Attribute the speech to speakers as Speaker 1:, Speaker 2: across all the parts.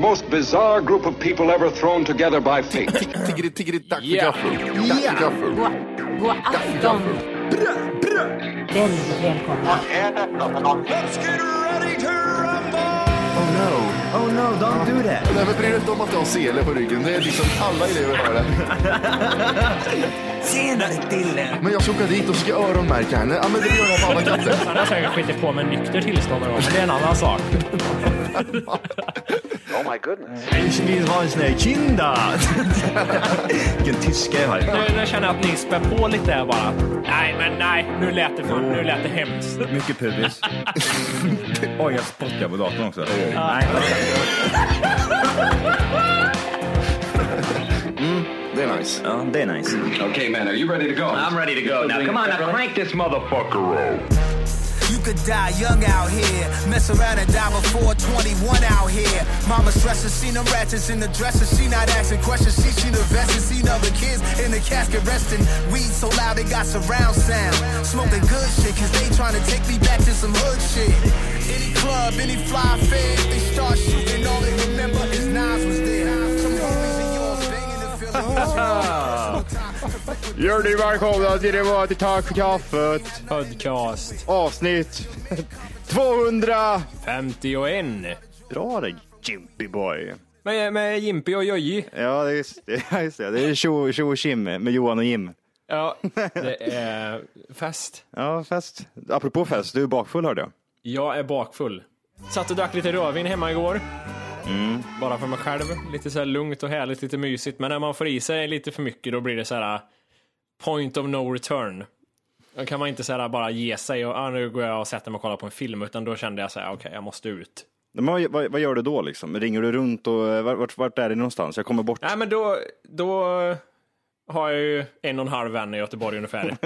Speaker 1: most bizarre group of people ever thrown together by fate.
Speaker 2: Tiggeri, tiggeri, dack för
Speaker 3: Yeah.
Speaker 2: gaffel. Dack
Speaker 4: Oh,
Speaker 2: för gaffel.
Speaker 5: God, god afton. Väldigt välkomna.
Speaker 4: Oh no, oh no, don't do that.
Speaker 2: Nej, men bry dig inte om att jag har sele på ryggen. Det är liksom alla elever har det.
Speaker 4: Tjenare Dille!
Speaker 2: Men jag ska åka dit och ska öronmärka henne. Ja, men det gör jag på alla katter.
Speaker 3: Han har säkert skitit på med nykter tillstånd någon gång, men det är en annan sak.
Speaker 4: Ich vill ha en sån här kinda! Vilken tyska jag har.
Speaker 3: Nu, nu känner jag att ni spär på lite här bara. Nej, men nej. Nu lät det, fan, nu lät det hemskt.
Speaker 6: Mycket pubis. Oj, jag spottar på datorn också. Nej,
Speaker 2: Det är nice.
Speaker 6: ja, det är nice.
Speaker 1: okay, man, are you ready to go? I'm ready to go. Now, come on, now crank this motherfucker up.
Speaker 7: You could die young out here. Mess around and die before 21 out here. Mama stressing, seen them ratchets in the dresser. She not asking questions. She seen the vest and seen other kids in the casket resting. Weed so loud it got surround sound. Smoking good shit, cause they trying to take me back to some hood shit. Any club, any fly fair, if they start shooting, all they remember is Nas was there. Some homies and yours banging the feeling.
Speaker 8: Hjärtligt välkomna till Alltså, det var till Tack för kaffet.
Speaker 3: Podcast
Speaker 8: Avsnitt 200.
Speaker 3: 51.
Speaker 8: Bra det, Jimpy boy.
Speaker 3: Med, med Jimpi och Jojji.
Speaker 8: Ja, det är just det. ja, Just det. det är tjo tjo och tjim med Johan och Jim.
Speaker 3: Ja, det är fest.
Speaker 8: Ja, fest. Apropå fest, du är bakfull hörde jag.
Speaker 3: Jag är bakfull. Satt och drack lite rödvin hemma igår.
Speaker 8: Mm.
Speaker 3: Bara för mig själv. Lite så här lugnt och härligt, lite mysigt. Men när man får i sig lite för mycket då blir det så här uh, point of no return. Då kan man inte så här uh, bara ge sig och ah, nu går jag och sätter mig och kollar på en film. Utan då kände jag så här, okej jag måste ut.
Speaker 8: Men vad, vad, vad gör du då liksom? Ringer du runt och eh, vart, vart är det någonstans? Jag kommer bort.
Speaker 3: Nej men då, då har jag ju en och en halv vän i Göteborg ungefär.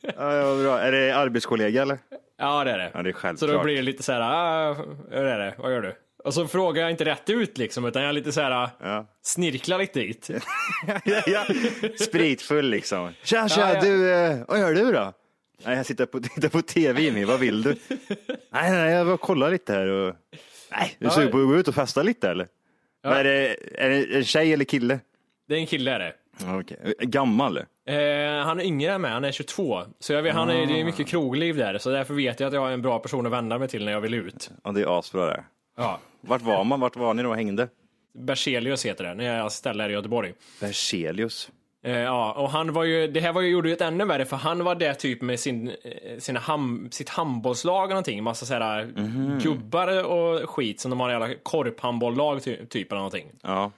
Speaker 8: Ja, ja, vad bra. Är det arbetskollega eller?
Speaker 3: Ja, det är det.
Speaker 8: Ja, det är självklart.
Speaker 3: Så då blir det lite så här, ah, hur är det, vad gör du? Och så frågar jag inte rätt ut liksom, utan jag är lite så här,
Speaker 8: Ja.
Speaker 3: snirklar lite dit.
Speaker 8: ja, spritfull liksom. Tja, tja,
Speaker 3: Ja, ja.
Speaker 8: du, eh, vad gör du då? Nej, jag sitter på, tittar på tv, Jimmy, vad vill du? Nej, nej, jag bara kollar lite här och... Nej, du sugen på att gå ut och festa lite eller? Vad Är, det, är det en tjej eller kille?
Speaker 3: Det är en kille är det.
Speaker 8: Ja, Okej, Gammal?
Speaker 3: Eh, han är yngre än mig, han är 22. Så jag vet, han är, det är mycket krogliv där, så därför vet jag att jag har en bra person att vända mig till när jag vill ut.
Speaker 8: Ja, det är asbra det. här.
Speaker 3: Ja.
Speaker 8: Vart var man? Vart var ni då och hängde?
Speaker 3: Berzelius heter det, när jag ställer i Göteborg.
Speaker 8: Berzelius.
Speaker 3: Eh, ja, och han var ju, det här var ju, gjorde ju ett ännu värre för han var där typ med sin, eh, sina ham, sitt handbollslag och någonting. Massa såhär gubbar och skit som de har i alla korphandbolllag ty, typ eller någonting.
Speaker 8: Ja.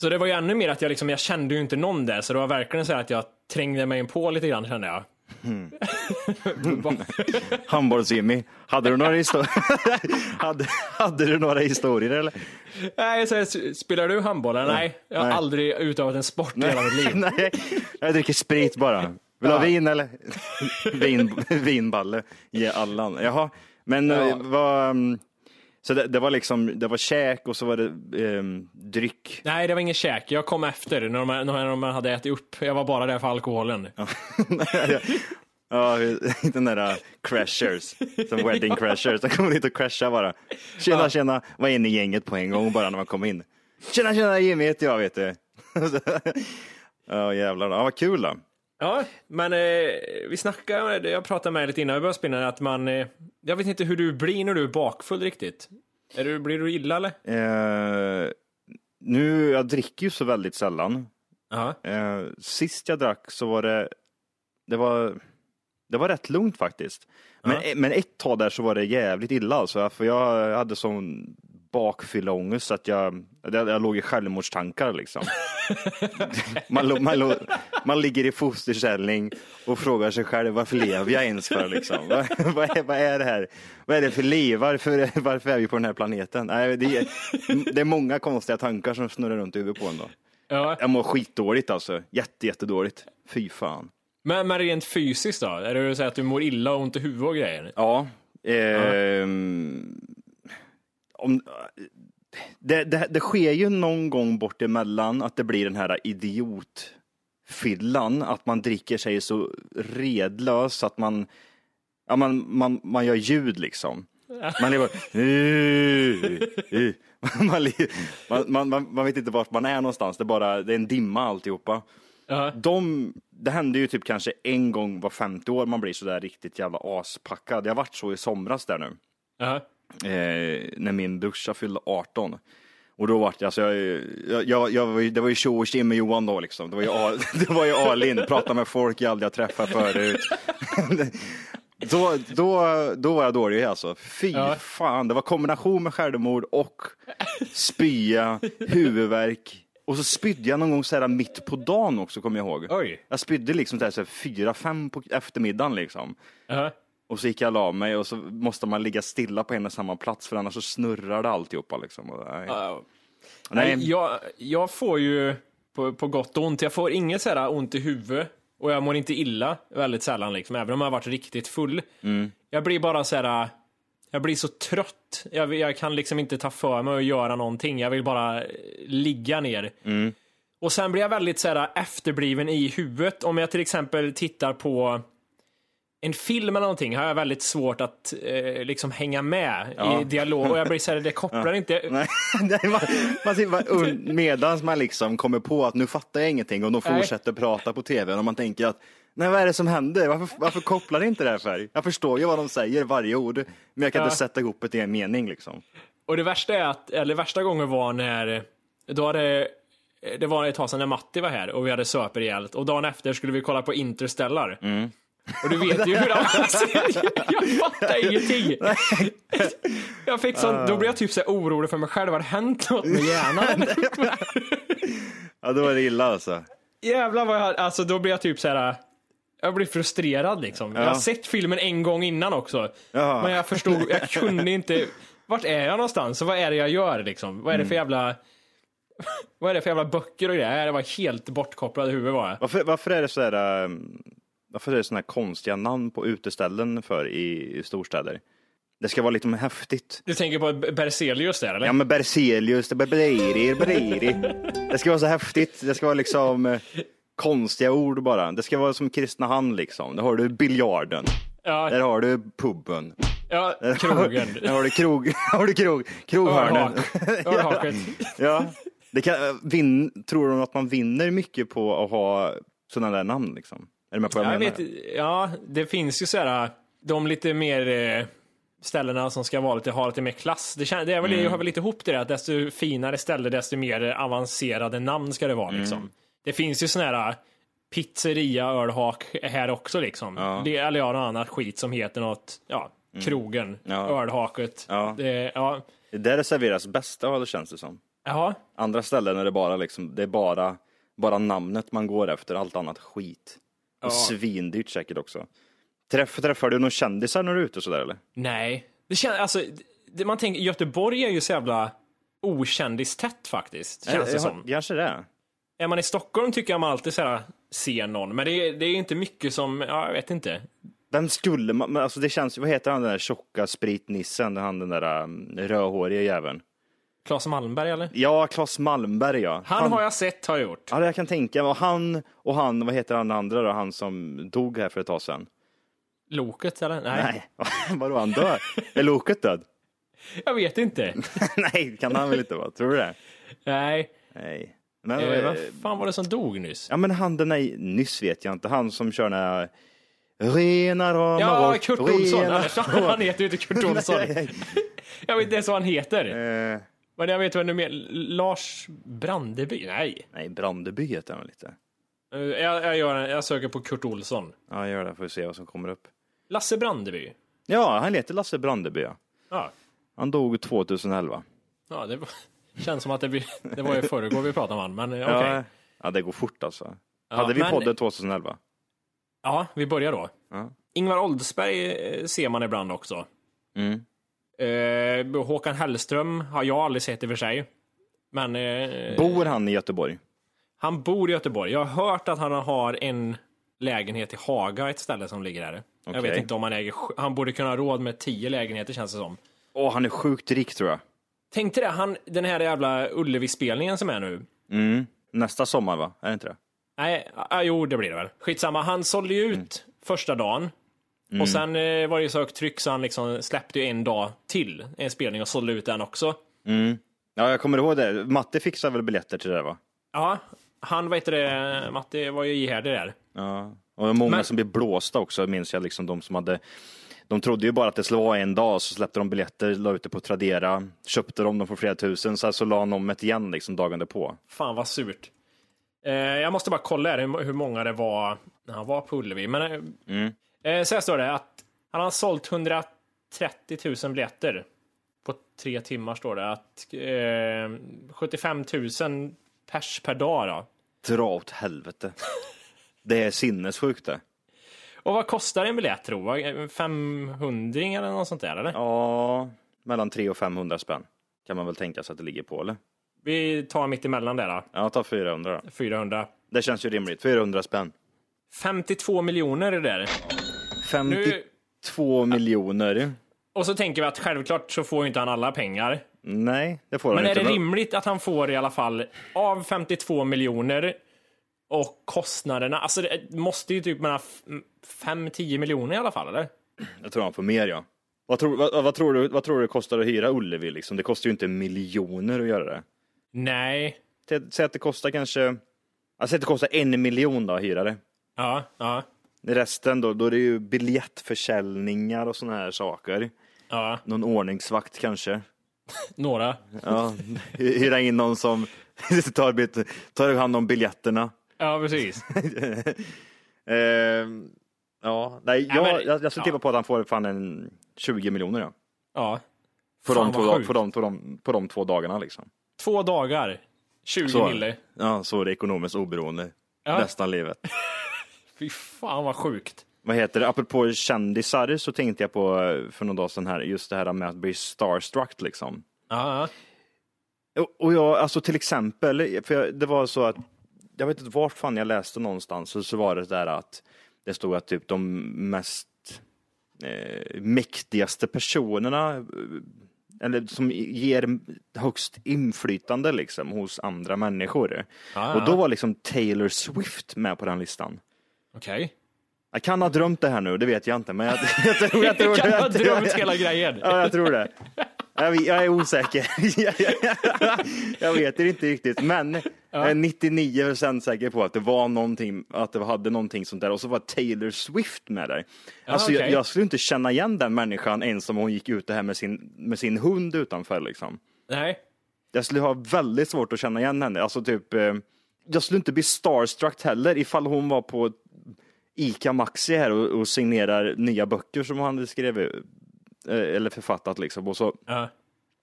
Speaker 3: Så det var ju ännu mer att jag liksom, jag kände ju inte någon där så det var verkligen så här att jag trängde mig in på lite grann kände jag.
Speaker 8: Handbolls-Jimmy. Hade du några historier? hade, hade du några historier eller?
Speaker 3: Nej, så här, s- spelar du handboll? eller? Nej, jag har
Speaker 8: Nej.
Speaker 3: aldrig utövat en sport i hela mitt liv.
Speaker 8: Nej, jag dricker sprit bara. Vill du ha vin eller? vin, vinballe. Ge allan. Jaha, men
Speaker 3: Ja.
Speaker 8: eh, vad... mm, Så det, det var liksom, det var käk och så var det um, dryck.
Speaker 3: Nej, det var ingen käk. Jag kom efter när de, när de hade ätit upp. Jag var bara där för alkoholen.
Speaker 8: Ja, den där äh, crashers, som wedding crashers. De kommer dit och crashar bara. Tjena, tjena, var inne i gänget på en gång bara när man kom in. Tjena, tjena, Jimmy heter jag vet du. Ja, jävlar. Ja, vad kul då.
Speaker 3: Ja, men eh, vi snackade, jag pratade med er lite innan vi började spinna, att man, eh, jag vet inte hur du blir när du är bakfull riktigt. Är du, blir du illa eller?
Speaker 8: Eh, nu, jag dricker ju så väldigt sällan.
Speaker 3: Ja.
Speaker 8: Eh, sist jag drack så var det, det var, det var rätt lugnt faktiskt. Men, e- men ett tag där så var det jävligt illa alltså, för jag hade sån bakfylleångest så att jag, jag, jag låg i självmordstankar liksom. man, lå- man, lå- man ligger i fosterställning och frågar sig själv varför lever jag ens för liksom? vad, vad, är, vad är det här? Vad är det för liv? Varför, varför är vi på den här planeten? Nej, det, är, det är många konstiga tankar som snurrar runt i huvudet på en då.
Speaker 3: ja.
Speaker 8: Jag mår skitdåligt alltså. Jätte, jättedåligt. Fy fan.
Speaker 3: Men, men rent fysiskt då? Är det så att du mår illa och ont i huvudet och grejer?
Speaker 8: Ja. Ehm, om, det, det, det sker ju någon gång bort emellan att det blir den här idiotfyllan, att man dricker sig så redlös att man, ja, man, man, man gör ljud liksom. Man lever... man, lever- man, man, man, man vet inte vart man är någonstans, det är bara det är en dimma alltihopa.
Speaker 3: Ja.
Speaker 8: De, det händer ju typ kanske en gång var 50 år man blir sådär riktigt jävla aspackad. Jag varit så i somras där nu
Speaker 3: Ja.
Speaker 8: eh, när min brorsa fyllde 18. Och då vart jag, alltså jag, jag, jag, jag var ju, det var ju tjo och tjim med Johan då liksom. Det var ju, A- det var ju Alin, prata med folk jag aldrig har träffat förut. då, då, då var jag dålig alltså. Fy
Speaker 3: Ja.
Speaker 8: fan, det var kombination med självmord och spya, huvudvärk. Och så spydde jag någon gång så här mitt på dagen också kommer jag ihåg.
Speaker 3: Oj.
Speaker 8: Jag spydde liksom så här, så här fyra, fem på eftermiddagen liksom.
Speaker 3: Ja.
Speaker 8: Och så gick jag och la mig och så måste man ligga stilla på en och samma plats för annars så snurrar det alltihopa liksom. Och, nej.
Speaker 3: Ja.
Speaker 8: nej.
Speaker 3: Jag, jag får ju på, på gott och ont, jag får inget så här ont i huvudet och jag mår inte illa väldigt sällan liksom, även om jag har varit riktigt full. Jag blir bara så här, jag blir så trött. Jag, jag kan liksom inte ta för mig och göra någonting. Jag vill bara eh, ligga ner. Och sen blir jag väldigt så här, eh, efterbliven i huvudet. Om jag till exempel tittar på en film eller någonting har jag väldigt svårt att eh, liksom hänga med i dialog. Och jag blir så här, det kopplar inte.
Speaker 8: Nej, nej, man, man, sitter bara und- medans man liksom kommer på att nu fattar jag ingenting och de
Speaker 3: Nej.
Speaker 8: fortsätter prata på tvn och man tänker att nej vad är det som händer? Varför, varför kopplar det inte det här för? Jag förstår ju vad de säger, varje ord, men jag kan
Speaker 3: Ja.
Speaker 8: inte sätta ihop det i en mening liksom.
Speaker 3: Och det värsta är att, eller värsta gången var när, då hade, det var ett tag sedan när Matti var här och vi hade söper ihjält och dagen efter skulle vi kolla på Interstellar. Och du vet ju hur avancerat, jag fattar ingenting. Jag fick sån, då blev jag typ så här orolig för mig själv, har det hänt något med hjärnan?
Speaker 8: Ja, då är det illa alltså.
Speaker 3: Jävlar vad jag, alltså då blir jag typ så här. Jag blir frustrerad liksom. Jag har sett filmen en gång innan också.
Speaker 8: Ja.
Speaker 3: Men jag förstod, jag kunde inte. Vart är jag någonstans? Och vad är det jag gör liksom? Vad är det
Speaker 8: Mm.
Speaker 3: för jävla... Vad är det för jävla böcker och grejer? Jag var helt bortkopplad i huvudet var jag.
Speaker 8: Varför, varför är det så här, ehm, varför är det såna här konstiga namn på uteställen för i, i storstäder? Det ska vara lite mer häftigt.
Speaker 3: Du tänker på Berzelius där eller?
Speaker 8: Ja men Berzelius, det blir Breiri, Breiri. Det ska vara så häftigt, det ska vara liksom eh, konstiga ord bara. Det ska vara som Kristinehamn liksom. Där har du biljarden, där
Speaker 3: Ja,
Speaker 8: har du puben.
Speaker 3: ja krogen.
Speaker 8: Där har du krog, där har du krog, kroghörnen.
Speaker 3: Örhak- Örhaket.
Speaker 8: Ja. Det kan, eh, vin, tror de att man vinner mycket på att ha sådana där namn liksom? Är du med på vad jag,
Speaker 3: Jag
Speaker 8: menar?
Speaker 3: vet, ja, det finns ju så här, de lite mer eh, ställena som ska vara lite, ha lite mer klass. Det, kän, det är väl,
Speaker 8: Mm.
Speaker 3: jag hör väl lite ihop det där, att desto finare ställe, desto mer avancerade namn ska det vara.
Speaker 8: Mm.
Speaker 3: Liksom. Det finns ju såna här eh, pizzeria, ölhak här också liksom. Det, eller ja, något annat skit som heter något, ja, krogen,
Speaker 8: Mm. Ja.
Speaker 3: ölhaket.
Speaker 8: Ja.
Speaker 3: Det, ja.
Speaker 8: Det där det serveras bästa öl känns det som.
Speaker 3: Jaha.
Speaker 8: Andra ställen är det bara liksom, det är bara, bara namnet man går efter, allt annat skit. Och svindyrt säkert också. Träff, träffar du någon kändisar när du är ute sådär eller?
Speaker 3: Nej. Det känns, alltså, det, man tänker, Göteborg är ju så jävla okändistätt faktiskt, känns det
Speaker 8: Jag-
Speaker 3: som.
Speaker 8: Kanske det.
Speaker 3: Är man i Stockholm tycker jag man alltid så här, ser någon, men det är, det är inte mycket som, ja, jag vet inte.
Speaker 8: Vem skulle man, men alltså det känns, vad heter han den där tjocka spritnissen, han den där um, rödhåriga jäveln?
Speaker 3: Claes Malmberg eller?
Speaker 8: Ja, Claes Malmberg ja.
Speaker 3: Han, har jag sett har jag gjort.
Speaker 8: Ja, det jag kan tänka mig. Och han, och han, vad heter han andra då, han som dog här för ett tag sedan?
Speaker 3: Loket eller? Nej,
Speaker 8: Nej, vadå han dör? Är Loket död?
Speaker 3: jag vet inte.
Speaker 8: Nej, kan han väl inte vara, tror du det?
Speaker 3: Nej,
Speaker 8: Nej. Men,
Speaker 3: eh, vad
Speaker 8: eh,
Speaker 3: fan var det som dog nyss?
Speaker 8: Ja men han den där, nyss vet jag inte, han som kör den här Rena rama
Speaker 3: Ja,
Speaker 8: rock,
Speaker 3: Kurt Olsson.
Speaker 8: rena-
Speaker 3: Annars- Han heter ju inte Kurt Olsson. Jag vet inte ens vad han heter.
Speaker 8: Eh,
Speaker 3: Men jag vet vem du menar. Lars Brandeby? Nej.
Speaker 8: Nej, Brandeby heter han väl lite?
Speaker 3: Eh, Jag, jag, gör, jag söker på Kurt Olsson.
Speaker 8: Ja, gör det, får vi se vad som kommer upp.
Speaker 3: Lasse Brandeby?
Speaker 8: Ja, han heter Lasse Brandeby ja.
Speaker 3: Ja.
Speaker 8: Han dog 2011.
Speaker 3: ja det var, känns som att det, blir, det var ju föregår vi pratade om han, men eh, okej.
Speaker 8: Ja, ja, det går fort alltså. Hade vi
Speaker 3: men-
Speaker 8: podden 2011?
Speaker 3: Ja, vi börjar då.
Speaker 8: Ja.
Speaker 3: Ingvar Oldsberg eh, ser man ibland också.
Speaker 8: Mm.
Speaker 3: Eh, Håkan Hellström har jag aldrig sett i och för sig. Men eh,
Speaker 8: Bor han i Göteborg?
Speaker 3: han bor i Göteborg. Jag har hört att han har en lägenhet i Haga, ett ställe som ligger där. Jag
Speaker 8: Okej.
Speaker 3: vet inte om han äger, sj- han borde kunna ha råd med tio lägenheter känns det som.
Speaker 8: Åh, han är sjukt rik tror jag.
Speaker 3: Tänk dig det, han, den här jävla Ullevi-spelningen som är nu.
Speaker 8: Mm. Nästa sommar va? Är det inte det?
Speaker 3: Nej, ah, jo det blir det väl. Skitsamma, han sålde ju ut första dagen. Och sen eh, var det ju så högt tryck så han liksom släppte ju en dag till en spelning och sålde ut den också.
Speaker 8: Ja, jag kommer ihåg det. Matte fixade väl biljetter till det där, va?
Speaker 3: Ja, han, vad heter det, Matti var ju ihärdig där.
Speaker 8: Ja. Och det var många
Speaker 3: Men-
Speaker 8: som blev blåsta också, minns jag. Liksom, de som hade... De trodde ju bara att det skulle vara en dag, så släppte de biljetter, la ut det på Tradera, köpte dem, de för flera tusen, så, här, så la han om ett igen liksom, dagen därpå.
Speaker 3: Fan vad surt. Eh, jag måste bara kolla här hur, hur många det var när han var på Ullevi. Men, eh, eh, så här står det att han har sålt 130 000 biljetter på tre timmar står det. Att, eh, 75 000 pers per dag då.
Speaker 8: Dra åt helvete. Det är sinnessjukt det.
Speaker 3: Och vad kostar en biljett tror jag? 500 eller något sånt där eller?
Speaker 8: Ja, mellan 300 och 500 spänn kan man väl tänka sig att det ligger på, eller?
Speaker 3: Vi tar mitt emellan där då.
Speaker 8: Ja, ta 400 då.
Speaker 3: 400.
Speaker 8: Det känns ju rimligt. 400 spänn.
Speaker 3: 52 miljoner är det där.
Speaker 8: 52
Speaker 3: Nu,
Speaker 8: miljoner.
Speaker 3: och så tänker vi att självklart så får ju inte han alla pengar.
Speaker 8: Nej, det får
Speaker 3: Men
Speaker 8: han
Speaker 3: är
Speaker 8: inte.
Speaker 3: det rimligt att han får i alla fall av 52 miljoner och kostnaderna, alltså det måste ju typ mellan 5-10 miljoner i alla fall eller?
Speaker 8: Jag tror han får mer ja. Vad tror, vad, vad, tror du, vad tror du det kostar att hyra Ullevi liksom? Det kostar ju inte miljoner att göra det.
Speaker 3: Nej.
Speaker 8: Tä- Säg att det kostar kanske, ja, säg att det kostar en miljon då att hyra det.
Speaker 3: Ja, ja,
Speaker 8: Resten då, då är det ju biljettförsäljningar och sådana här saker.
Speaker 3: ja.
Speaker 8: Någon ordningsvakt kanske.
Speaker 3: Några.
Speaker 8: Ja, hy- hyra in någon som tar, bit- tar hand om biljetterna.
Speaker 3: Ja, precis.
Speaker 8: Ehm, ja, nej,
Speaker 3: Nej,
Speaker 8: jag,
Speaker 3: men-
Speaker 8: jag, jag skulle
Speaker 3: ja.
Speaker 8: tippa på att han får fan en 20 miljoner ja.
Speaker 3: Ja.
Speaker 8: På,
Speaker 3: Fan,
Speaker 8: de två,
Speaker 3: vad
Speaker 8: dag-
Speaker 3: sjukt.
Speaker 8: på, de, på, de, på de två dagarna liksom.
Speaker 3: Två dagar. 20
Speaker 8: Så.
Speaker 3: mille.
Speaker 8: Ja, så är det ekonomiskt oberoende
Speaker 3: Ja.
Speaker 8: resten av livet.
Speaker 3: Fy fan vad sjukt.
Speaker 8: Vad heter det? Apropå kändisar så tänkte jag på eh, för någon dag sedan här, just det här med att bli starstruck liksom.
Speaker 3: Ja, ja.
Speaker 8: Och- Och jag, alltså till exempel, för jag, det var så att, jag vet inte vart fan jag läste någonstans, så, så var det där att det stod att typ de mest eh, mäktigaste personerna, eh, eller som ger högst inflytande liksom hos andra människor.
Speaker 3: ja.
Speaker 8: Och då var liksom Taylor Swift med på den listan.
Speaker 3: Okej.
Speaker 8: Jag kan ha drömt det här nu, det vet jag inte, men jag, jag tror, jag tror
Speaker 3: Du kan
Speaker 8: det.
Speaker 3: ha
Speaker 8: Jag tror-
Speaker 3: drömt hela grejen.
Speaker 8: Ja, jag tror det. Jag, vet- jag är osäker. jag vet det inte riktigt, men jag är 99% säker på att det var någonting, att det hade någonting sånt där och så var Taylor Swift med där. Alltså, jag,
Speaker 3: okej.
Speaker 8: jag skulle inte känna igen den människan ens om hon gick ut det här med sin, med sin hund utanför liksom.
Speaker 3: Nej.
Speaker 8: Jag skulle ha väldigt svårt att känna igen henne. Alltså typ, eh, jag skulle inte bli starstruck heller ifall hon var på ICA Maxi här och, och signerar nya böcker som han skrivit eh, eller författat liksom. Och så,
Speaker 3: Ja.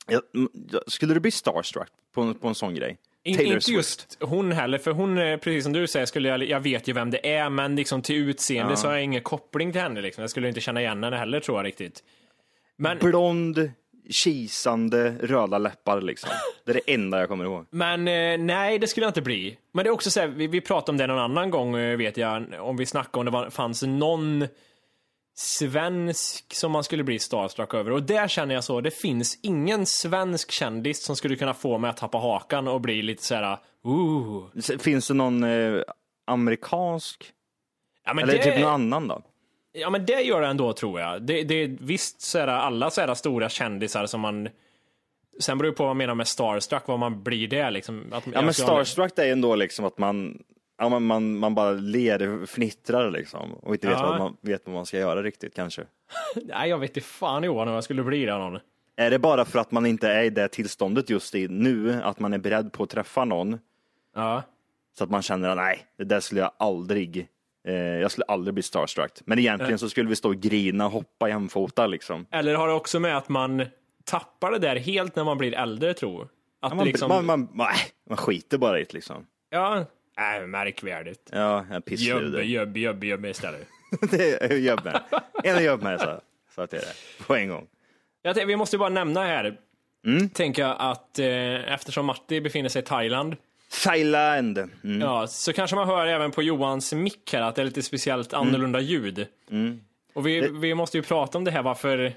Speaker 8: jag, m- jag- skulle du bli starstruck på, en- på en sån grej?
Speaker 3: In,
Speaker 8: Taylor
Speaker 3: inte
Speaker 8: Swift.
Speaker 3: just hon heller, för hon, eh, precis som du säger, skulle jag, jag vet ju vem det är, men liksom till utseende så har jag ingen koppling till henne. Liksom. Jag skulle inte känna igen henne heller tror jag riktigt. Men,
Speaker 8: Blond, kisande, röda läppar liksom. Det är det enda jag kommer ihåg.
Speaker 3: men eh, nej, det skulle jag inte bli. Men det är också så här, vi, vi pratade om det någon annan gång, eh, vet jag, om vi snackade om det var, fanns någon svensk som man skulle bli starstruck över. Och där känner jag så, det finns ingen svensk kändis som skulle kunna få mig att tappa hakan och bli lite så här, ooh.
Speaker 8: S- Finns det någon eh, amerikansk?
Speaker 3: Ja, men
Speaker 8: eller
Speaker 3: det-
Speaker 8: typ någon annan då?
Speaker 3: Ja men det gör det ändå tror jag. Det, det är visst så är det alla så här stora kändisar som man Sen beror det på vad man menar med starstruck, vad man blir det liksom. Att,
Speaker 8: Ja,
Speaker 3: jag
Speaker 8: men
Speaker 3: ska ha-
Speaker 8: starstruck är ju ändå liksom att man, ja, man, man, man bara ler, fnittrar liksom och inte vet,
Speaker 3: Ja.
Speaker 8: vad man, vet vad man ska göra riktigt kanske.
Speaker 3: Nej jag vet inte fan Johan om jag skulle bli det av någon.
Speaker 8: Är det bara för att man inte är i det tillståndet just i nu, att man är beredd på att träffa någon
Speaker 3: Ja.
Speaker 8: så att man känner att nej, det där skulle jag aldrig, eh, jag skulle aldrig bli starstruck. Men egentligen så skulle vi stå och grina, hoppa jämfota liksom.
Speaker 3: Eller har det också med att man tappar det där helt när man blir äldre tror? Att
Speaker 8: Man,
Speaker 3: det liksom,
Speaker 8: man, man, nej, man skiter bara i det liksom.
Speaker 3: ja, nej märkvärdigt.
Speaker 8: Ja, jag
Speaker 3: Jöbbe,
Speaker 8: pissluder.
Speaker 3: jöbbe, jöbbe, jöbbe istället.
Speaker 8: Det är Jobb med. En jobb med så, så att det är det. På en gång.
Speaker 3: Jag tänkte, vi måste ju bara nämna här,
Speaker 8: Mm.
Speaker 3: tänker jag att eh, eftersom Matti befinner sig i Thailand
Speaker 8: Thailand. Mm.
Speaker 3: Ja, så kanske man hör även på Johans mick här att det är lite speciellt
Speaker 8: Mm.
Speaker 3: annorlunda ljud. Och vi, vi måste ju prata om det här varför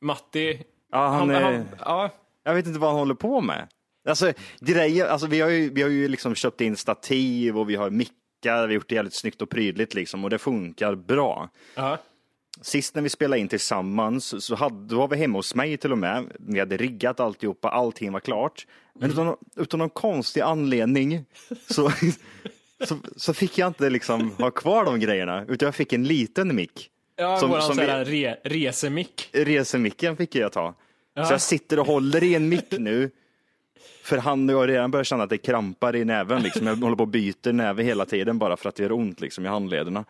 Speaker 3: Matti...
Speaker 8: Ja, han,
Speaker 3: han,
Speaker 8: är,
Speaker 3: han, ja,
Speaker 8: jag vet inte vad han håller på med. Alltså, grejer, alltså vi har ju, vi har ju liksom köpt in stativ och vi har mickar, vi har gjort det jävligt snyggt och prydligt liksom och det funkar bra.
Speaker 3: ja,
Speaker 8: Sist när vi spelade in tillsammans så hade, då var vi hemma hos mig till och med. Vi hade riggat alltihopa, allting var klart. Men utan, utan någon konstig anledning så, så, så fick jag inte liksom ha kvar de grejerna. Utan jag fick en liten mick.
Speaker 3: Ja,
Speaker 8: Som-
Speaker 3: våran
Speaker 8: som
Speaker 3: sån här re, resemick.
Speaker 8: Resemicken fick jag ta.
Speaker 3: Ja.
Speaker 8: Så jag sitter och håller i en mick nu. För han och jag redan börjar känna att det krampar i näven. Liksom. Jag håller på och byter näve hela tiden bara för att det gör ont liksom, i handlederna.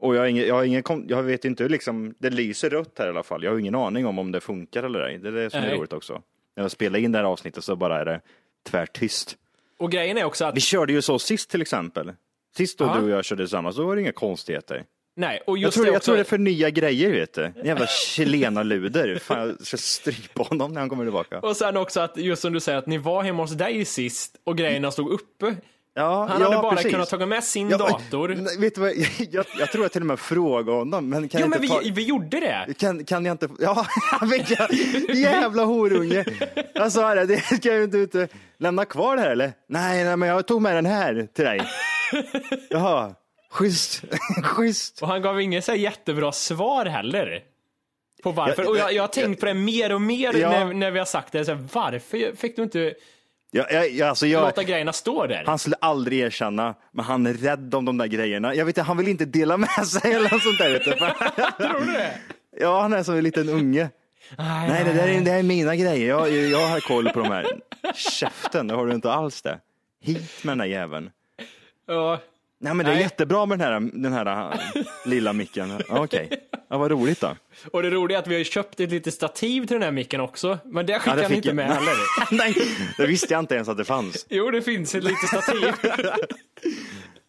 Speaker 8: Och jag, har ingen, jag, har ingen, kon- jag vet inte hur liksom, det lyser rött här i alla fall. Jag har ingen aning om om det funkar eller ej. Det är det som är
Speaker 3: Nej.
Speaker 8: roligt också. När jag spelar in det här avsnittet så bara är det tvärtyst.
Speaker 3: Och grejen är också att
Speaker 8: Vi körde ju så sist till exempel. Sist då
Speaker 3: Ja.
Speaker 8: du och jag körde tillsammans, då var det inga konstigheter.
Speaker 3: Nej, och
Speaker 8: Jag
Speaker 3: just
Speaker 8: tror,
Speaker 3: det
Speaker 8: jag
Speaker 3: också.
Speaker 8: tror det är för nya grejer vet du. En jävla chilenaluder. Fan, jag ska strypa honom när han kommer tillbaka.
Speaker 3: Och sen också att, just som du säger, att ni var hemma hos dig sist och grejerna stod uppe.
Speaker 8: Mm. Ja,
Speaker 3: Han
Speaker 8: ja,
Speaker 3: hade bara
Speaker 8: precis.
Speaker 3: kunnat ta med sin
Speaker 8: Ja,
Speaker 3: dator.
Speaker 8: nej, Vet du vad, jag, jag tror jag till och med frågade honom. Men kan
Speaker 3: Jo,
Speaker 8: jag
Speaker 3: men
Speaker 8: inte
Speaker 3: vi,
Speaker 8: ta...
Speaker 3: vi gjorde det.
Speaker 8: Kan, kan jag inte... Ja, vilka jävla horunge. Jag sa det, det ska jag ju inte, inte lämna kvar det här eller? Nej, nej, men jag tog med den här till dig. Jaha, schysst, schysst.
Speaker 3: Och han gav inget så här jättebra svar heller. På varför.
Speaker 8: Jag-
Speaker 3: Och jag, jag har tänkt på det mer och mer
Speaker 8: Ja.
Speaker 3: när, när vi har sagt det. Så här, varför fick du inte
Speaker 8: Jag, jag, jag, alltså jag,
Speaker 3: låta grejerna stå där?
Speaker 8: Han skulle aldrig erkänna, men han är rädd om de där grejerna. Jag vet inte, han vill inte dela med sig eller något sånt där. Vet du.
Speaker 3: Tror du det?
Speaker 8: Ja, han är som en liten unge. Nej, det där är, det här är mina grejer. Jag, jag har koll på de här. Käften, det har du inte alls det. Hit med den där jäveln.
Speaker 3: Ja.
Speaker 8: Nej, men det är
Speaker 3: Nej.
Speaker 8: jättebra med den här, den här äh, lilla micken. Ja, Okej, ja, vad roligt då.
Speaker 3: Och det roliga är att vi har ju köpt ett litet stativ till den här micken också. Men det skickar
Speaker 8: det
Speaker 3: han
Speaker 8: fick
Speaker 3: inte
Speaker 8: jag.
Speaker 3: med heller.
Speaker 8: Nej, det visste jag inte ens att det fanns.
Speaker 3: Jo, det finns ett litet stativ.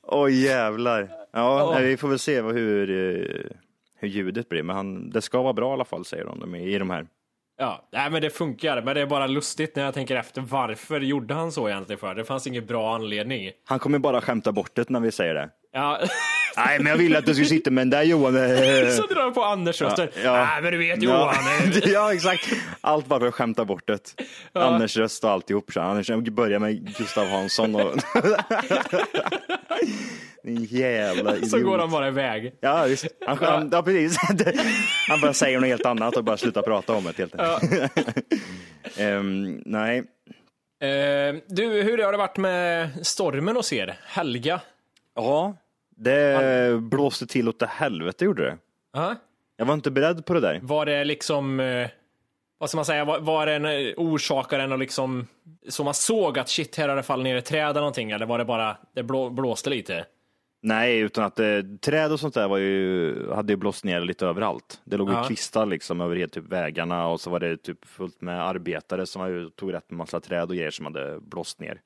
Speaker 8: Åh jävlar. Ja, nej, vi får väl se vad, hur, eh, hur ljudet blir. Men han, det ska vara bra i alla fall, säger de, de är i de här.
Speaker 3: Ja, nej men det funkar. Men det är bara lustigt när jag tänker efter. Varför gjorde han så egentligen för? Det fanns ingen bra anledning.
Speaker 8: Han kommer bara skämta bort det när vi säger det.
Speaker 3: Ja,
Speaker 8: Nej, men jag ville att du skulle sitta med den där Johan.
Speaker 3: så drar han på Anders rösten.
Speaker 8: ja.
Speaker 3: Nej men du vet
Speaker 8: Ja,
Speaker 3: Johan.
Speaker 8: ja, exakt. Allt bara för att skämta bort det. Anders röst och alltihop. Så. Anders börjar med Gustav Hansson. Och... Din jävla idiot.
Speaker 3: Så går han bara iväg.
Speaker 8: Ja, visst. Han, han, ja, precis. han bara säger något helt annat och bara slutar prata om det. Helt. Ehm, nej,
Speaker 3: Eh, du, hur har det varit med stormen hos er? Helga?
Speaker 8: ja, det blåste till åt det helvete gjorde det.
Speaker 3: Ja.
Speaker 8: Jag var inte beredd på det där.
Speaker 3: Var det liksom, eh, vad ska man säga, var, var den eh, orsakaren och liksom, så man såg att shit, här har det fallit ner ett träd eller någonting, eller var det bara, det blå, blåste lite?
Speaker 8: Nej, utan att eh, träd och sånt där var ju, hade ju blåst ner lite överallt. Det låg ju
Speaker 3: Ja.
Speaker 8: kvistar liksom över helt typ vägarna och så var det typ fullt med arbetare som var ju- tog rätt med massa träd och grejer som hade blåst ner.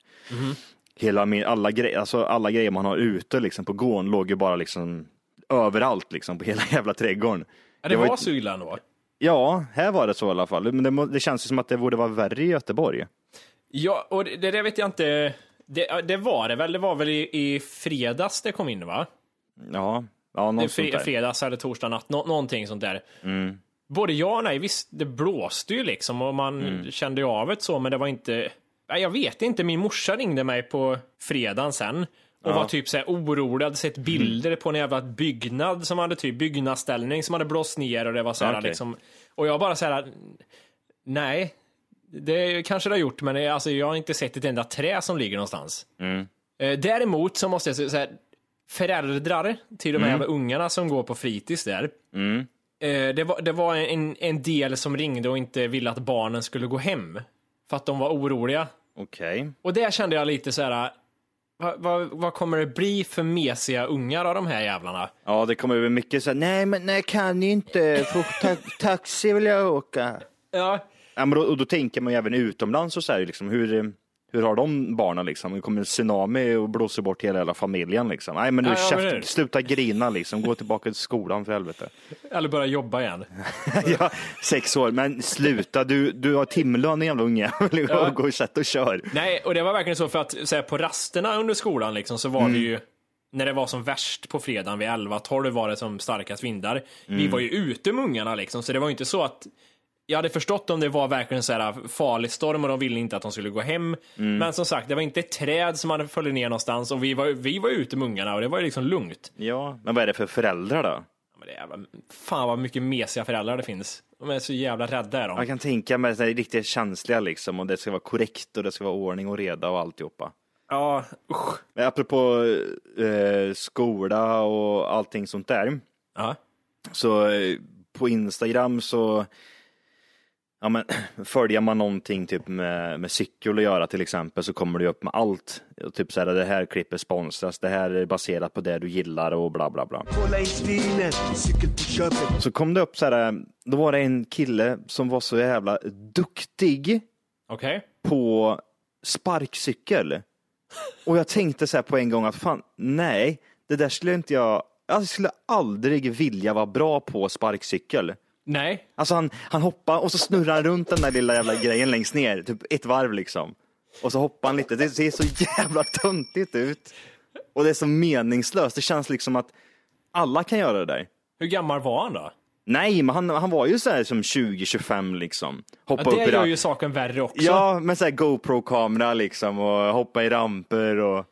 Speaker 8: Hela min, alla, gre- alltså alla grejer man har ute liksom på gården låg ju bara liksom överallt liksom på hela jävla trädgården.
Speaker 3: Ja, det
Speaker 8: Det var
Speaker 3: var,
Speaker 8: ju-
Speaker 3: så illa ändå.
Speaker 8: Ja, här var det så i alla fall. Men det, må- det känns ju som att det borde vara värre i Göteborg.
Speaker 3: Ja, och det, det där vet jag inte, det, ja, det var det väl, det var väl i, i fredags det kom in va?
Speaker 8: Ja, ja något sånt
Speaker 3: Fre,
Speaker 8: där.
Speaker 3: fredags eller torsdag natt, nå- någonting sånt där. Både ja och nej, visst det blåste ju liksom och man kände ju av det så men det var inte, nej, jag vet inte, min morsa ringde mig på fredagen sen och var typ såhär orolig, hade sett bilder på en jävla byggnad som hade typ byggnadsställning som hade blåst ner och det var såhär
Speaker 8: Okej.
Speaker 3: liksom, och jag bara såhär, nej, det kanske det har gjort men det, alltså, jag har inte sett ett enda trä som ligger någonstans. Eh, Däremot så måste jag säga så här, föräldrar till de här jävla ungarna som går på fritids där. Eh, Det var, det var en, en del som ringde och inte ville att barnen skulle gå hem. För att de var oroliga.
Speaker 8: Okej.
Speaker 3: Och där kände jag lite så här, vad, vad, vad kommer det bli för mesiga ungar av de här jävlarna?
Speaker 8: Ja, det kommer över mycket så här, nej men nej, jag kan inte, för ta taxi vill jag åka.
Speaker 3: Ja,
Speaker 8: Ja, men då, och då tänker man ju även utomlands och så här, liksom, hur, eh, hur har de barnen liksom? Det kommer en tsunami och blåser bort hela, hela familjen liksom. Nej men nu
Speaker 3: Ja, ja, men
Speaker 8: käften,
Speaker 3: det-
Speaker 8: sluta grina liksom, gå tillbaka till skolan för helvete.
Speaker 3: eller börja jobba igen.
Speaker 8: ja, sex år, men sluta, du, du har timlön din jävla unge.
Speaker 3: Ja.
Speaker 8: Gå och sätt och kör.
Speaker 3: Nej, och det var verkligen så för att så här, på rasterna under skolan liksom, så var det ju när det var som värst på fredagen vid 11-12 var det som starkast vindar. Vi var ju ute med ungarna liksom, så det var ju inte så att jag hade förstått om det var verkligen så här farlig storm och de ville inte att de skulle gå hem. Men som sagt, det var inte ett träd som hade följt ner någonstans och vi var, vi var ute med ungarna och det var ju liksom lugnt.
Speaker 8: Ja, men vad är det för föräldrar då?
Speaker 3: men det är jävla, fan vad mycket mesiga föräldrar det finns. De är så jävla rädda är de.
Speaker 8: Man kan tänka mig att det är riktigt känsliga liksom och det ska vara korrekt och det ska vara ordning och reda och alltihopa.
Speaker 3: Ja, usch.
Speaker 8: Men apropå eh, skola och allting sånt där.
Speaker 3: Ja.
Speaker 8: Så eh, på Instagram så ja, men, följer man någonting typ med, med cykel att göra till exempel så kommer det ju upp med allt. Och Typ så här, det här klippet sponsras, det här är baserat på det du gillar och bla bla bla. Så kom det upp så här, eh, då var det en kille som var så jävla duktig
Speaker 3: Okej.
Speaker 8: på sparkcykel. Och jag tänkte så här på en gång att fan, nej, det där skulle inte jag, jag skulle aldrig vilja vara bra på sparkcykel.
Speaker 3: Nej.
Speaker 8: Alltså han, han hoppar och så snurrar han runt den där lilla jävla grejen längst ner, typ ett varv liksom. Och så hoppar han lite, det ser så jävla töntigt ut. Och det är så meningslöst, det känns liksom att alla kan göra det där.
Speaker 3: Hur gammal var han då?
Speaker 8: Nej, men han, han var ju så här som 20-25 liksom. Hoppa
Speaker 3: Ja,
Speaker 8: upp
Speaker 3: det
Speaker 8: i
Speaker 3: gör
Speaker 8: ramp.
Speaker 3: ju saken värre också.
Speaker 8: Ja, med så här GoPro-kamera liksom och hoppa i ramper och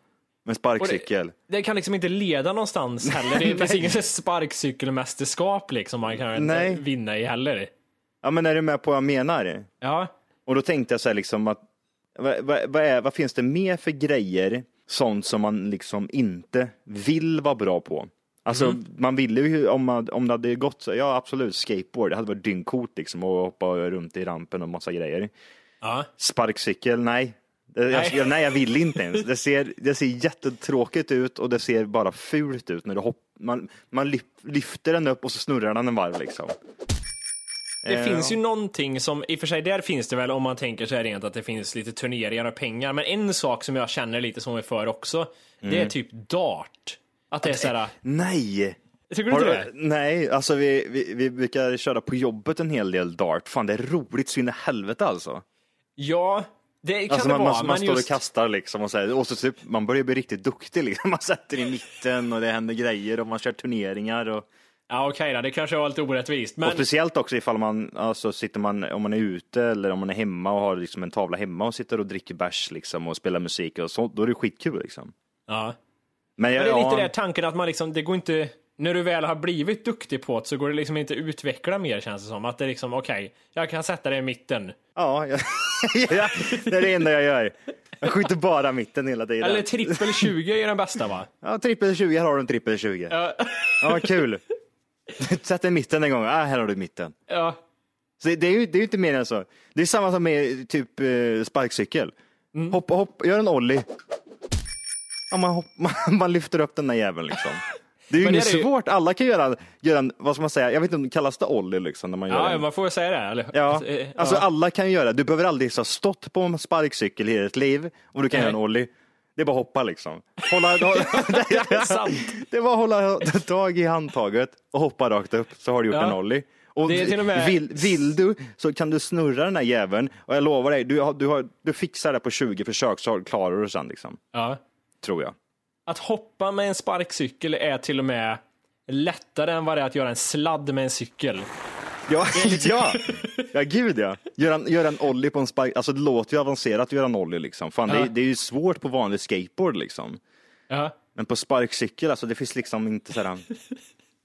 Speaker 8: med
Speaker 3: Och
Speaker 8: sparkcykel.
Speaker 3: Det kan liksom inte leda någonstans heller. Det finns inget sparkcykelmästerskap liksom man kan
Speaker 8: Nej.
Speaker 3: inte vinna i heller.
Speaker 8: Ja, men är du med på vad jag menar?
Speaker 3: Ja.
Speaker 8: Och då tänkte jag så här liksom att vad, vad, vad, är, vad finns det mer för grejer, sånt som man liksom inte vill vara bra på? Alltså
Speaker 3: Mm.
Speaker 8: man ville ju, om, man, om det hade gått så, ja absolut skateboard, det hade varit dyngcoolt liksom och hoppa runt i rampen och massa grejer.
Speaker 3: Ja.
Speaker 8: Sparkcykel, nej. Det-
Speaker 3: Nej.
Speaker 8: Jag, jag, nej, jag vill inte ens. Det ser, det ser jättetråkigt ut och det ser bara fult ut när du hopp, man, man lyf- lyfter den upp och så snurrar den en varv liksom.
Speaker 3: Det
Speaker 8: Eh,
Speaker 3: finns ju någonting som, i och för sig där finns det väl om man tänker sig rent att det finns lite turneringar och pengar, men en sak som jag känner lite som är för också, det
Speaker 8: Mm.
Speaker 3: är typ dart. Att det är såhär,
Speaker 8: Nej!
Speaker 3: tycker du
Speaker 8: Har
Speaker 3: inte
Speaker 8: du,
Speaker 3: det?
Speaker 8: nej, alltså vi, vi, vi brukar köra på jobbet en hel del dart. Fan, det är roligt så in i helvete alltså.
Speaker 3: Ja, det kan
Speaker 8: alltså
Speaker 3: det
Speaker 8: man,
Speaker 3: vara,
Speaker 8: man, man
Speaker 3: men
Speaker 8: står
Speaker 3: just...
Speaker 8: och kastar liksom och, så här, och så typ, man börjar bli riktigt duktig liksom. Man sätter i mitten och det händer grejer och man kör turneringar. Och,
Speaker 3: Ja okej då, det kanske var lite orättvist, men
Speaker 8: Och speciellt också ifall man, alltså sitter man, om man är ute eller om man är hemma och har liksom en tavla hemma och sitter och dricker bärs liksom och spelar musik och sånt, då är det skitkul liksom.
Speaker 3: ja.
Speaker 8: Men, jag,
Speaker 3: Men det är lite
Speaker 8: ja,
Speaker 3: där tanken att man liksom, det går inte, när du väl har blivit duktig på det så går det liksom inte utveckla mer känns det som. Att det är liksom, okej, jag kan sätta det i mitten.
Speaker 8: Ja, jag, ja, det är det enda jag gör. Jag skjuter bara mitten hela tiden.
Speaker 3: Eller trippel 20 är den bästa va?
Speaker 8: Ja, trippel 20, här har du en trippel 20. Ja, vad kul. Sätt den i mitten en gång, ah, här har du mitten.
Speaker 3: Ja,
Speaker 8: Så det är ju det är ju inte mer än så. Det är samma som med typ eh, sparkcykel.
Speaker 3: Mm.
Speaker 8: Hoppa, hoppa, gör en ollie. Ja, man, hopp, man, man lyfter upp den där jäveln liksom. Det är ju
Speaker 3: Men det
Speaker 8: inget
Speaker 3: är det ju.
Speaker 8: svårt, alla kan göra, göra en, vad ska man säga, jag vet inte om det kallas det ollie liksom när man gör
Speaker 3: ja
Speaker 8: en.
Speaker 3: man får väl säga det. Eller?
Speaker 8: Ja,
Speaker 3: eh,
Speaker 8: alltså
Speaker 3: ja.
Speaker 8: alla kan göra det. Du behöver aldrig ha stått på en sparkcykel i ditt liv och du kan
Speaker 3: Nej.
Speaker 8: göra en ollie. Det är bara att hoppa liksom. Hålla, det,
Speaker 3: är sant.
Speaker 8: det är bara att hålla tag i handtaget och hoppa rakt upp så har du gjort
Speaker 3: Ja.
Speaker 8: en ollie. Och
Speaker 3: Det är till och med-
Speaker 8: vill, vill du så kan du snurra den här jäveln och jag lovar dig, du, har, du, har, du fixar det på 20 försök så har- klarar du det sen liksom.
Speaker 3: Ja.
Speaker 8: Tror jag.
Speaker 3: Att hoppa med en sparkcykel är till och med lättare än vad det är att göra en sladd med en cykel.
Speaker 8: Ja, ja. ja gud ja. Gör en, gör en ollie på en spark, alltså det låter ju avancerat att göra en ollie liksom. Fan, det,
Speaker 3: Ja.
Speaker 8: är- det är ju svårt på vanlig skateboard liksom.
Speaker 3: Ja.
Speaker 8: Men på sparkcykel, alltså det finns liksom inte sådär.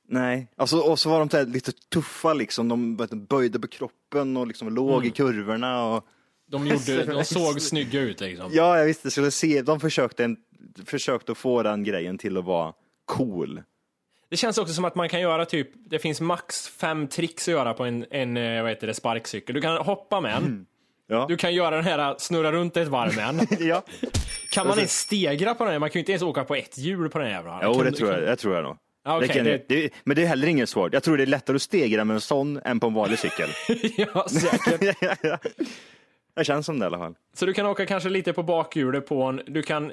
Speaker 8: Nej, alltså, och så var de så här lite tuffa liksom. De vet, böjde på kroppen och liksom låg
Speaker 3: Mm.
Speaker 8: i kurvorna. Och...
Speaker 3: De, gjorde, de såg snygga ut liksom.
Speaker 8: Ja, jag visste, skulle se. De försökte, en... försökte att få den grejen till att vara cool.
Speaker 3: Det känns också som att man kan göra typ, det finns max fem tricks att göra på en, en eh, vad heter det, sparkcykel. Du kan hoppa med en.
Speaker 8: Ja.
Speaker 3: Du kan göra den här eh, snurra runt ett varv med en.
Speaker 8: Ja,
Speaker 3: Kan man ens stegra på den? här? Man kan ju inte ens åka på ett hjul på den här jävla.
Speaker 8: jo,
Speaker 3: kan,
Speaker 8: det tror jag, det tror jag nog.
Speaker 3: Ja, okej,
Speaker 8: det kan,
Speaker 3: det-
Speaker 8: det... men det är heller inget svårt. Jag tror det är lättare att stegra med en sån än på en vanlig cykel.
Speaker 3: ja, säkert.
Speaker 8: det känns som det i alla fall.
Speaker 3: Så du kan åka kanske lite på bakhjulet på en, du kan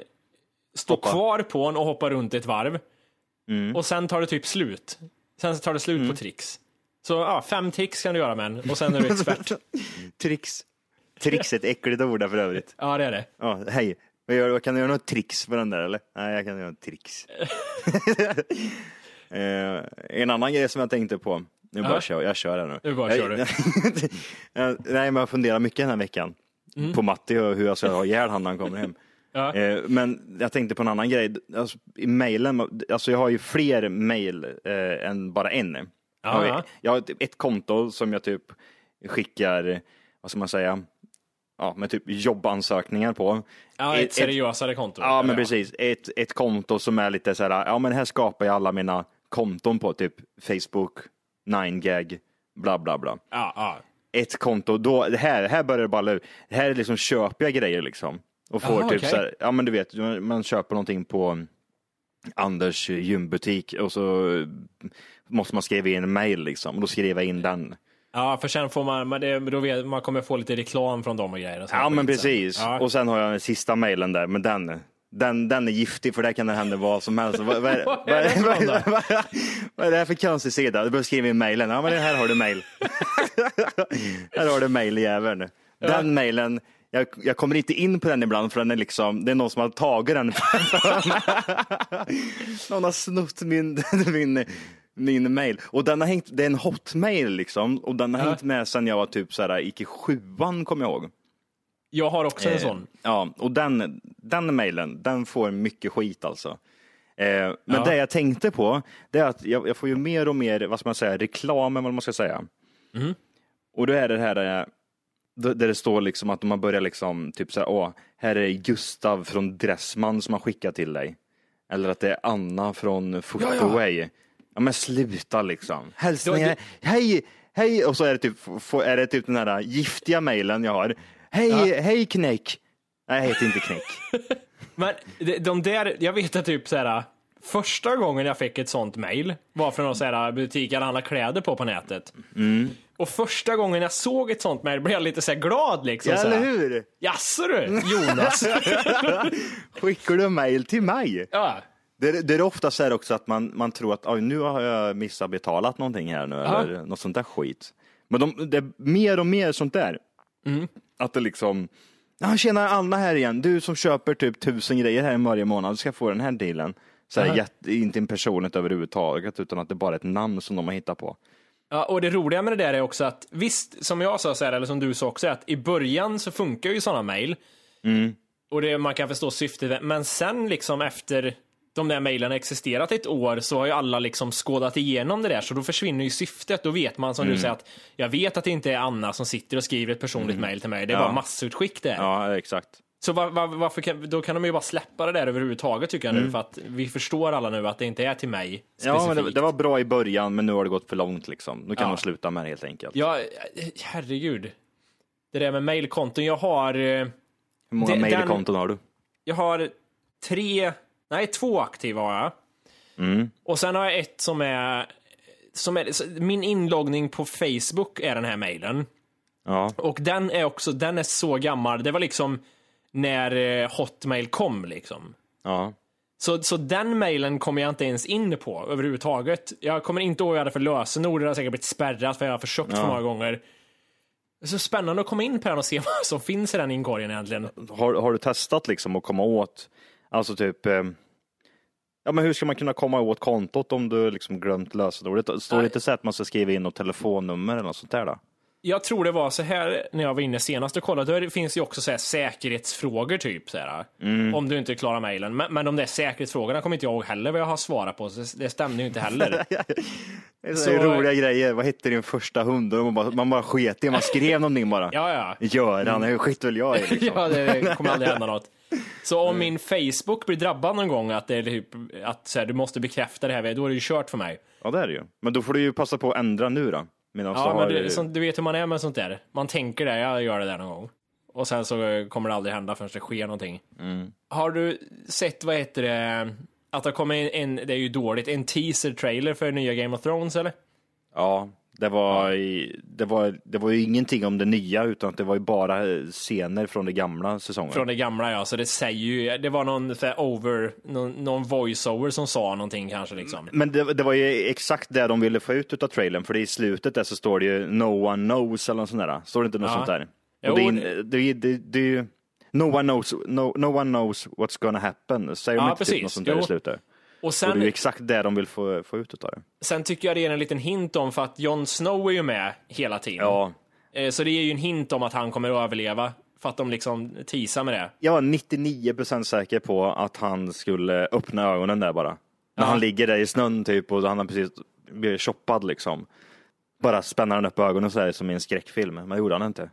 Speaker 3: stå
Speaker 8: Hoppa. Mm.
Speaker 3: kvar på en och hoppa runt ett varv. Och sen tar det typ slut. Sen så tar det slut på tricks. Så ja, fem tricks kan du göra med en och sen är du expert.
Speaker 8: Tricks. Tricks är ett äckligt ord där för övrigt.
Speaker 3: ja, det är det.
Speaker 8: Ja, hej. Vad gör du? Kan du göra något tricks med den där eller? Nej, jag kan göra något tricks. eh, en annan grej som jag tänkte på. Nu bara
Speaker 3: Ja.
Speaker 8: kör jag. kör här nu.
Speaker 3: Nu bara kör du.
Speaker 8: Eh, Nej, men jag funderar mycket den här veckan. På Matti och hur jag ska ha ihjäl han när han kommer hem.
Speaker 3: Mm. Ja.
Speaker 8: Eh, Men jag tänkte på en annan grej. Alltså, I mejlen, alltså jag har ju fler mejl eh, än bara en. Jag har-
Speaker 3: ja.
Speaker 8: Jag har typ ett konto som jag typ skickar, vad ska man säga, ja men typ jobbansökningar på.
Speaker 3: Ja, ett seriösare konto.
Speaker 8: Ja, men precis. Ett, ett konto som är lite så här, ja men här skapar jag alla mina konton på, typ Facebook, 9gag, bla bla bla.
Speaker 3: Ja, ja.
Speaker 8: Ett konto, då, det här, här börjar det balla ur. Det här är liksom, köper jag grejer liksom. Och får
Speaker 3: Aha,
Speaker 8: typ
Speaker 3: okej.
Speaker 8: så här, ja men du vet, man köper någonting på Anders gymbutik och så måste man skriva in en mail liksom. Och då skriver jag in den.
Speaker 3: Ja, för sen får man, men det, då vet, man kommer få lite reklam från dem och grejer. Och sånt
Speaker 8: Ja men
Speaker 3: skit sen.
Speaker 8: precis.
Speaker 3: Ja.
Speaker 8: Och sen har jag den sista mailen där, men den, den, den är giftig för där kan det hända vad som helst. Vad, vad, är, vad, är, vad, är, vad, är, vad är det här för konstig sida? Du behöver skriva in mailen. Ja men det här har du mail. här har du mailjäveln. Den mailen, jag, jag kommer inte in på den ibland för den är liksom, det är någon som har tagit den. någon har snott min, min, min mail. Och den har hängt, det är en hotmail liksom. Och den har hängt med sedan jag var typ så här, gick i sjuan kommer jag ihåg.
Speaker 3: Jag har också en
Speaker 8: Eh,
Speaker 3: sån.
Speaker 8: Ja, och den, den mejlen, den får mycket skit alltså. Eh, men
Speaker 3: Ja.
Speaker 8: det jag tänkte på, det är att jag, jag får ju mer och mer, vad ska man säga, reklam än vad man ska säga.
Speaker 3: Mm.
Speaker 8: Och då är det här eh, då- där det står liksom att man börjar liksom, typ så här, åh, här är Gustav från Dressman som har skickat till dig. Eller att det är Anna från Footaway. Ja, men sluta liksom. Hälsningar, hej, hej, och så är det typ, få- är det typ den här giftiga mejlen jag har. Hej, hej knäck. Nej, jag heter inte knäck.
Speaker 3: Men de, de där, jag vet att typ såhär, första gången jag fick ett sånt mail var från någon såhär butik jag handlar kläder på på nätet.
Speaker 8: Mm.
Speaker 3: Och första gången jag såg ett sånt mail blev jag lite såhär glad liksom.
Speaker 8: ja,
Speaker 3: såhär,
Speaker 8: eller hur?
Speaker 3: Jaså du, Jonas?
Speaker 8: Skickar du mejl till mig?
Speaker 3: ja.
Speaker 8: Det, det är ofta så här också att man, man tror att "Oj, nu har jag missat betalat någonting här nu eller något sånt där skit. Men de, det är mer och mer sånt där.
Speaker 3: Mm.
Speaker 8: Att det liksom, ja tjena Anna här igen, du som köper typ tusen grejer här varje månad, du ska få den här dealen. Så här, jätte, inte en personligt överhuvudtaget utan att det bara är ett namn som de har hittat på.
Speaker 3: Ja, och det roliga med det där är också att visst, som jag sa så här, eller som du sa också, att i början så funkar ju sådana mejl.
Speaker 8: Mm.
Speaker 3: Och det, man kan förstå syftet, men sen liksom efter de där mejlen har existerat ett år så har ju alla liksom skådat igenom det där, så då försvinner ju syftet. Då vet man som
Speaker 8: Mm.
Speaker 3: du säger att jag vet att det inte är Anna som sitter och skriver ett personligt mejl till mig, det är bara massutskick där.
Speaker 8: Ja, exakt.
Speaker 3: Så va- va- varför kan, då kan de ju bara släppa det där överhuvudtaget tycker jag nu, för att vi förstår alla nu att det inte är till mig specifikt.
Speaker 8: Mm. Ja, men det, det var bra i början men nu har det gått för långt liksom. Nu kan de sluta med det helt enkelt.
Speaker 3: Ja, herregud. Det där med mailkonton. Jag har, eh,
Speaker 8: Hur många
Speaker 3: det- den-
Speaker 8: mejlkonton har du?
Speaker 3: jag har tre, nej två aktiva har jag. Och sen har jag ett som är, som är, så min inloggning på Facebook är den här mailen.
Speaker 8: Ja.
Speaker 3: Och den är också, den är så gammal. Det var liksom när eh, Hotmail kom liksom.
Speaker 8: ja.
Speaker 3: Så, så den mailen kommer jag inte ens in på överhuvudtaget. Jag kommer inte ihåg vad jag hade för lösenord. Det har säkert blivit spärrat för jag har försökt för många gånger. Det är så spännande att komma in på den och se vad som finns i den inkorgen egentligen.
Speaker 8: har, har du testat liksom att komma åt, alltså typ, eh, ja men hur ska man kunna komma åt kontot om du liksom glömt lösenordet? Står det
Speaker 3: Nej.
Speaker 8: inte så att man ska skriva in något telefonnummer eller något sånt där då?
Speaker 3: Jag tror det var så här när jag var inne senast och kollade. Då finns ju också så här säkerhetsfrågor typ. Så här, Om du inte klarar mailen. Men, men de där säkerhetsfrågorna kommer inte jag ihåg heller vad jag har svarat på. Så det stämde ju inte heller.
Speaker 8: Det är
Speaker 3: Så-
Speaker 8: roliga grejer, vad hette din första hund? Och Man bara, man bara sket i man skrev någonting bara.
Speaker 3: ja, ja. Mm.
Speaker 8: Göran, hur skit väl jag i liksom. Mm.
Speaker 3: Ja, det kommer aldrig hända något. Så om min Facebook blir drabbad någon gång att, det är typ, att så här, du måste bekräfta det här, då är det ju kört för mig.
Speaker 8: Ja det är det ju. Men då får du ju passa på att ändra nu då. Medan du
Speaker 3: Ja,
Speaker 8: har-
Speaker 3: men du, som, du vet hur man är med sånt där. Man tänker det, jag gör det där någon gång. Och sen så eh, kommer det aldrig hända förrän det sker någonting.
Speaker 8: Mm.
Speaker 3: Har du sett, vad heter det, att det kommer en, en, det är ju dåligt, en teaser-trailer för nya Game of Thrones eller?
Speaker 8: Ja, det var, i- det, var, det var ju ingenting om det nya utan att det var ju bara eh, scener från det gamla säsongen.
Speaker 3: Från det gamla ja, så det säger ju, det var någon så här, over, någon, någon voice-over som sa någonting kanske liksom.
Speaker 8: Men det, det var ju exakt det de ville få ut av trailern, för i slutet där så står det ju No one knows eller något sånt där. Står det inte något
Speaker 3: Ja.
Speaker 8: sånt där?
Speaker 3: Jo,
Speaker 8: Och det, är, in- det, är- det, det är ju No one knows, no, no one knows what's gonna happen. Säger de
Speaker 3: Ja,
Speaker 8: inte
Speaker 3: precis.
Speaker 8: typ något sånt där
Speaker 3: Jo.
Speaker 8: i slutet?
Speaker 3: Och
Speaker 8: Och det är
Speaker 3: sen
Speaker 8: ju exakt det de vill få, få ut av det.
Speaker 3: Sen tycker jag det är en liten hint om, för att Jon Snow är ju med hela tiden.
Speaker 8: Ja,
Speaker 3: Eh, Så det är ju en hint om att han kommer att överleva. För att de liksom teasar med det.
Speaker 8: Jag var 99% säker på att han skulle öppna ögonen där bara. När han ligger där i snön typ och han har precis blivit choppad liksom. Bara spänner han upp ögonen så här som i en skräckfilm, men det gjorde han inte.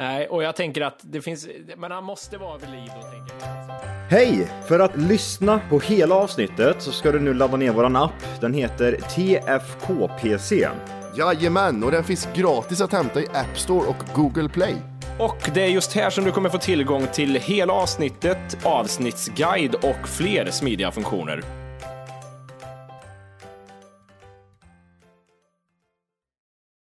Speaker 3: Nej, och jag tänker att det finns, men han måste vara vid liv då tänker jag.
Speaker 8: Hej! För att lyssna på hela avsnittet så ska du nu ladda ner våran app. Den heter TFKPC.
Speaker 2: Jajamän, och den finns gratis att hämta i App Store och Google Play.
Speaker 3: Och det är just här som du kommer få tillgång till hela avsnittet, avsnittsguide och fler smidiga funktioner.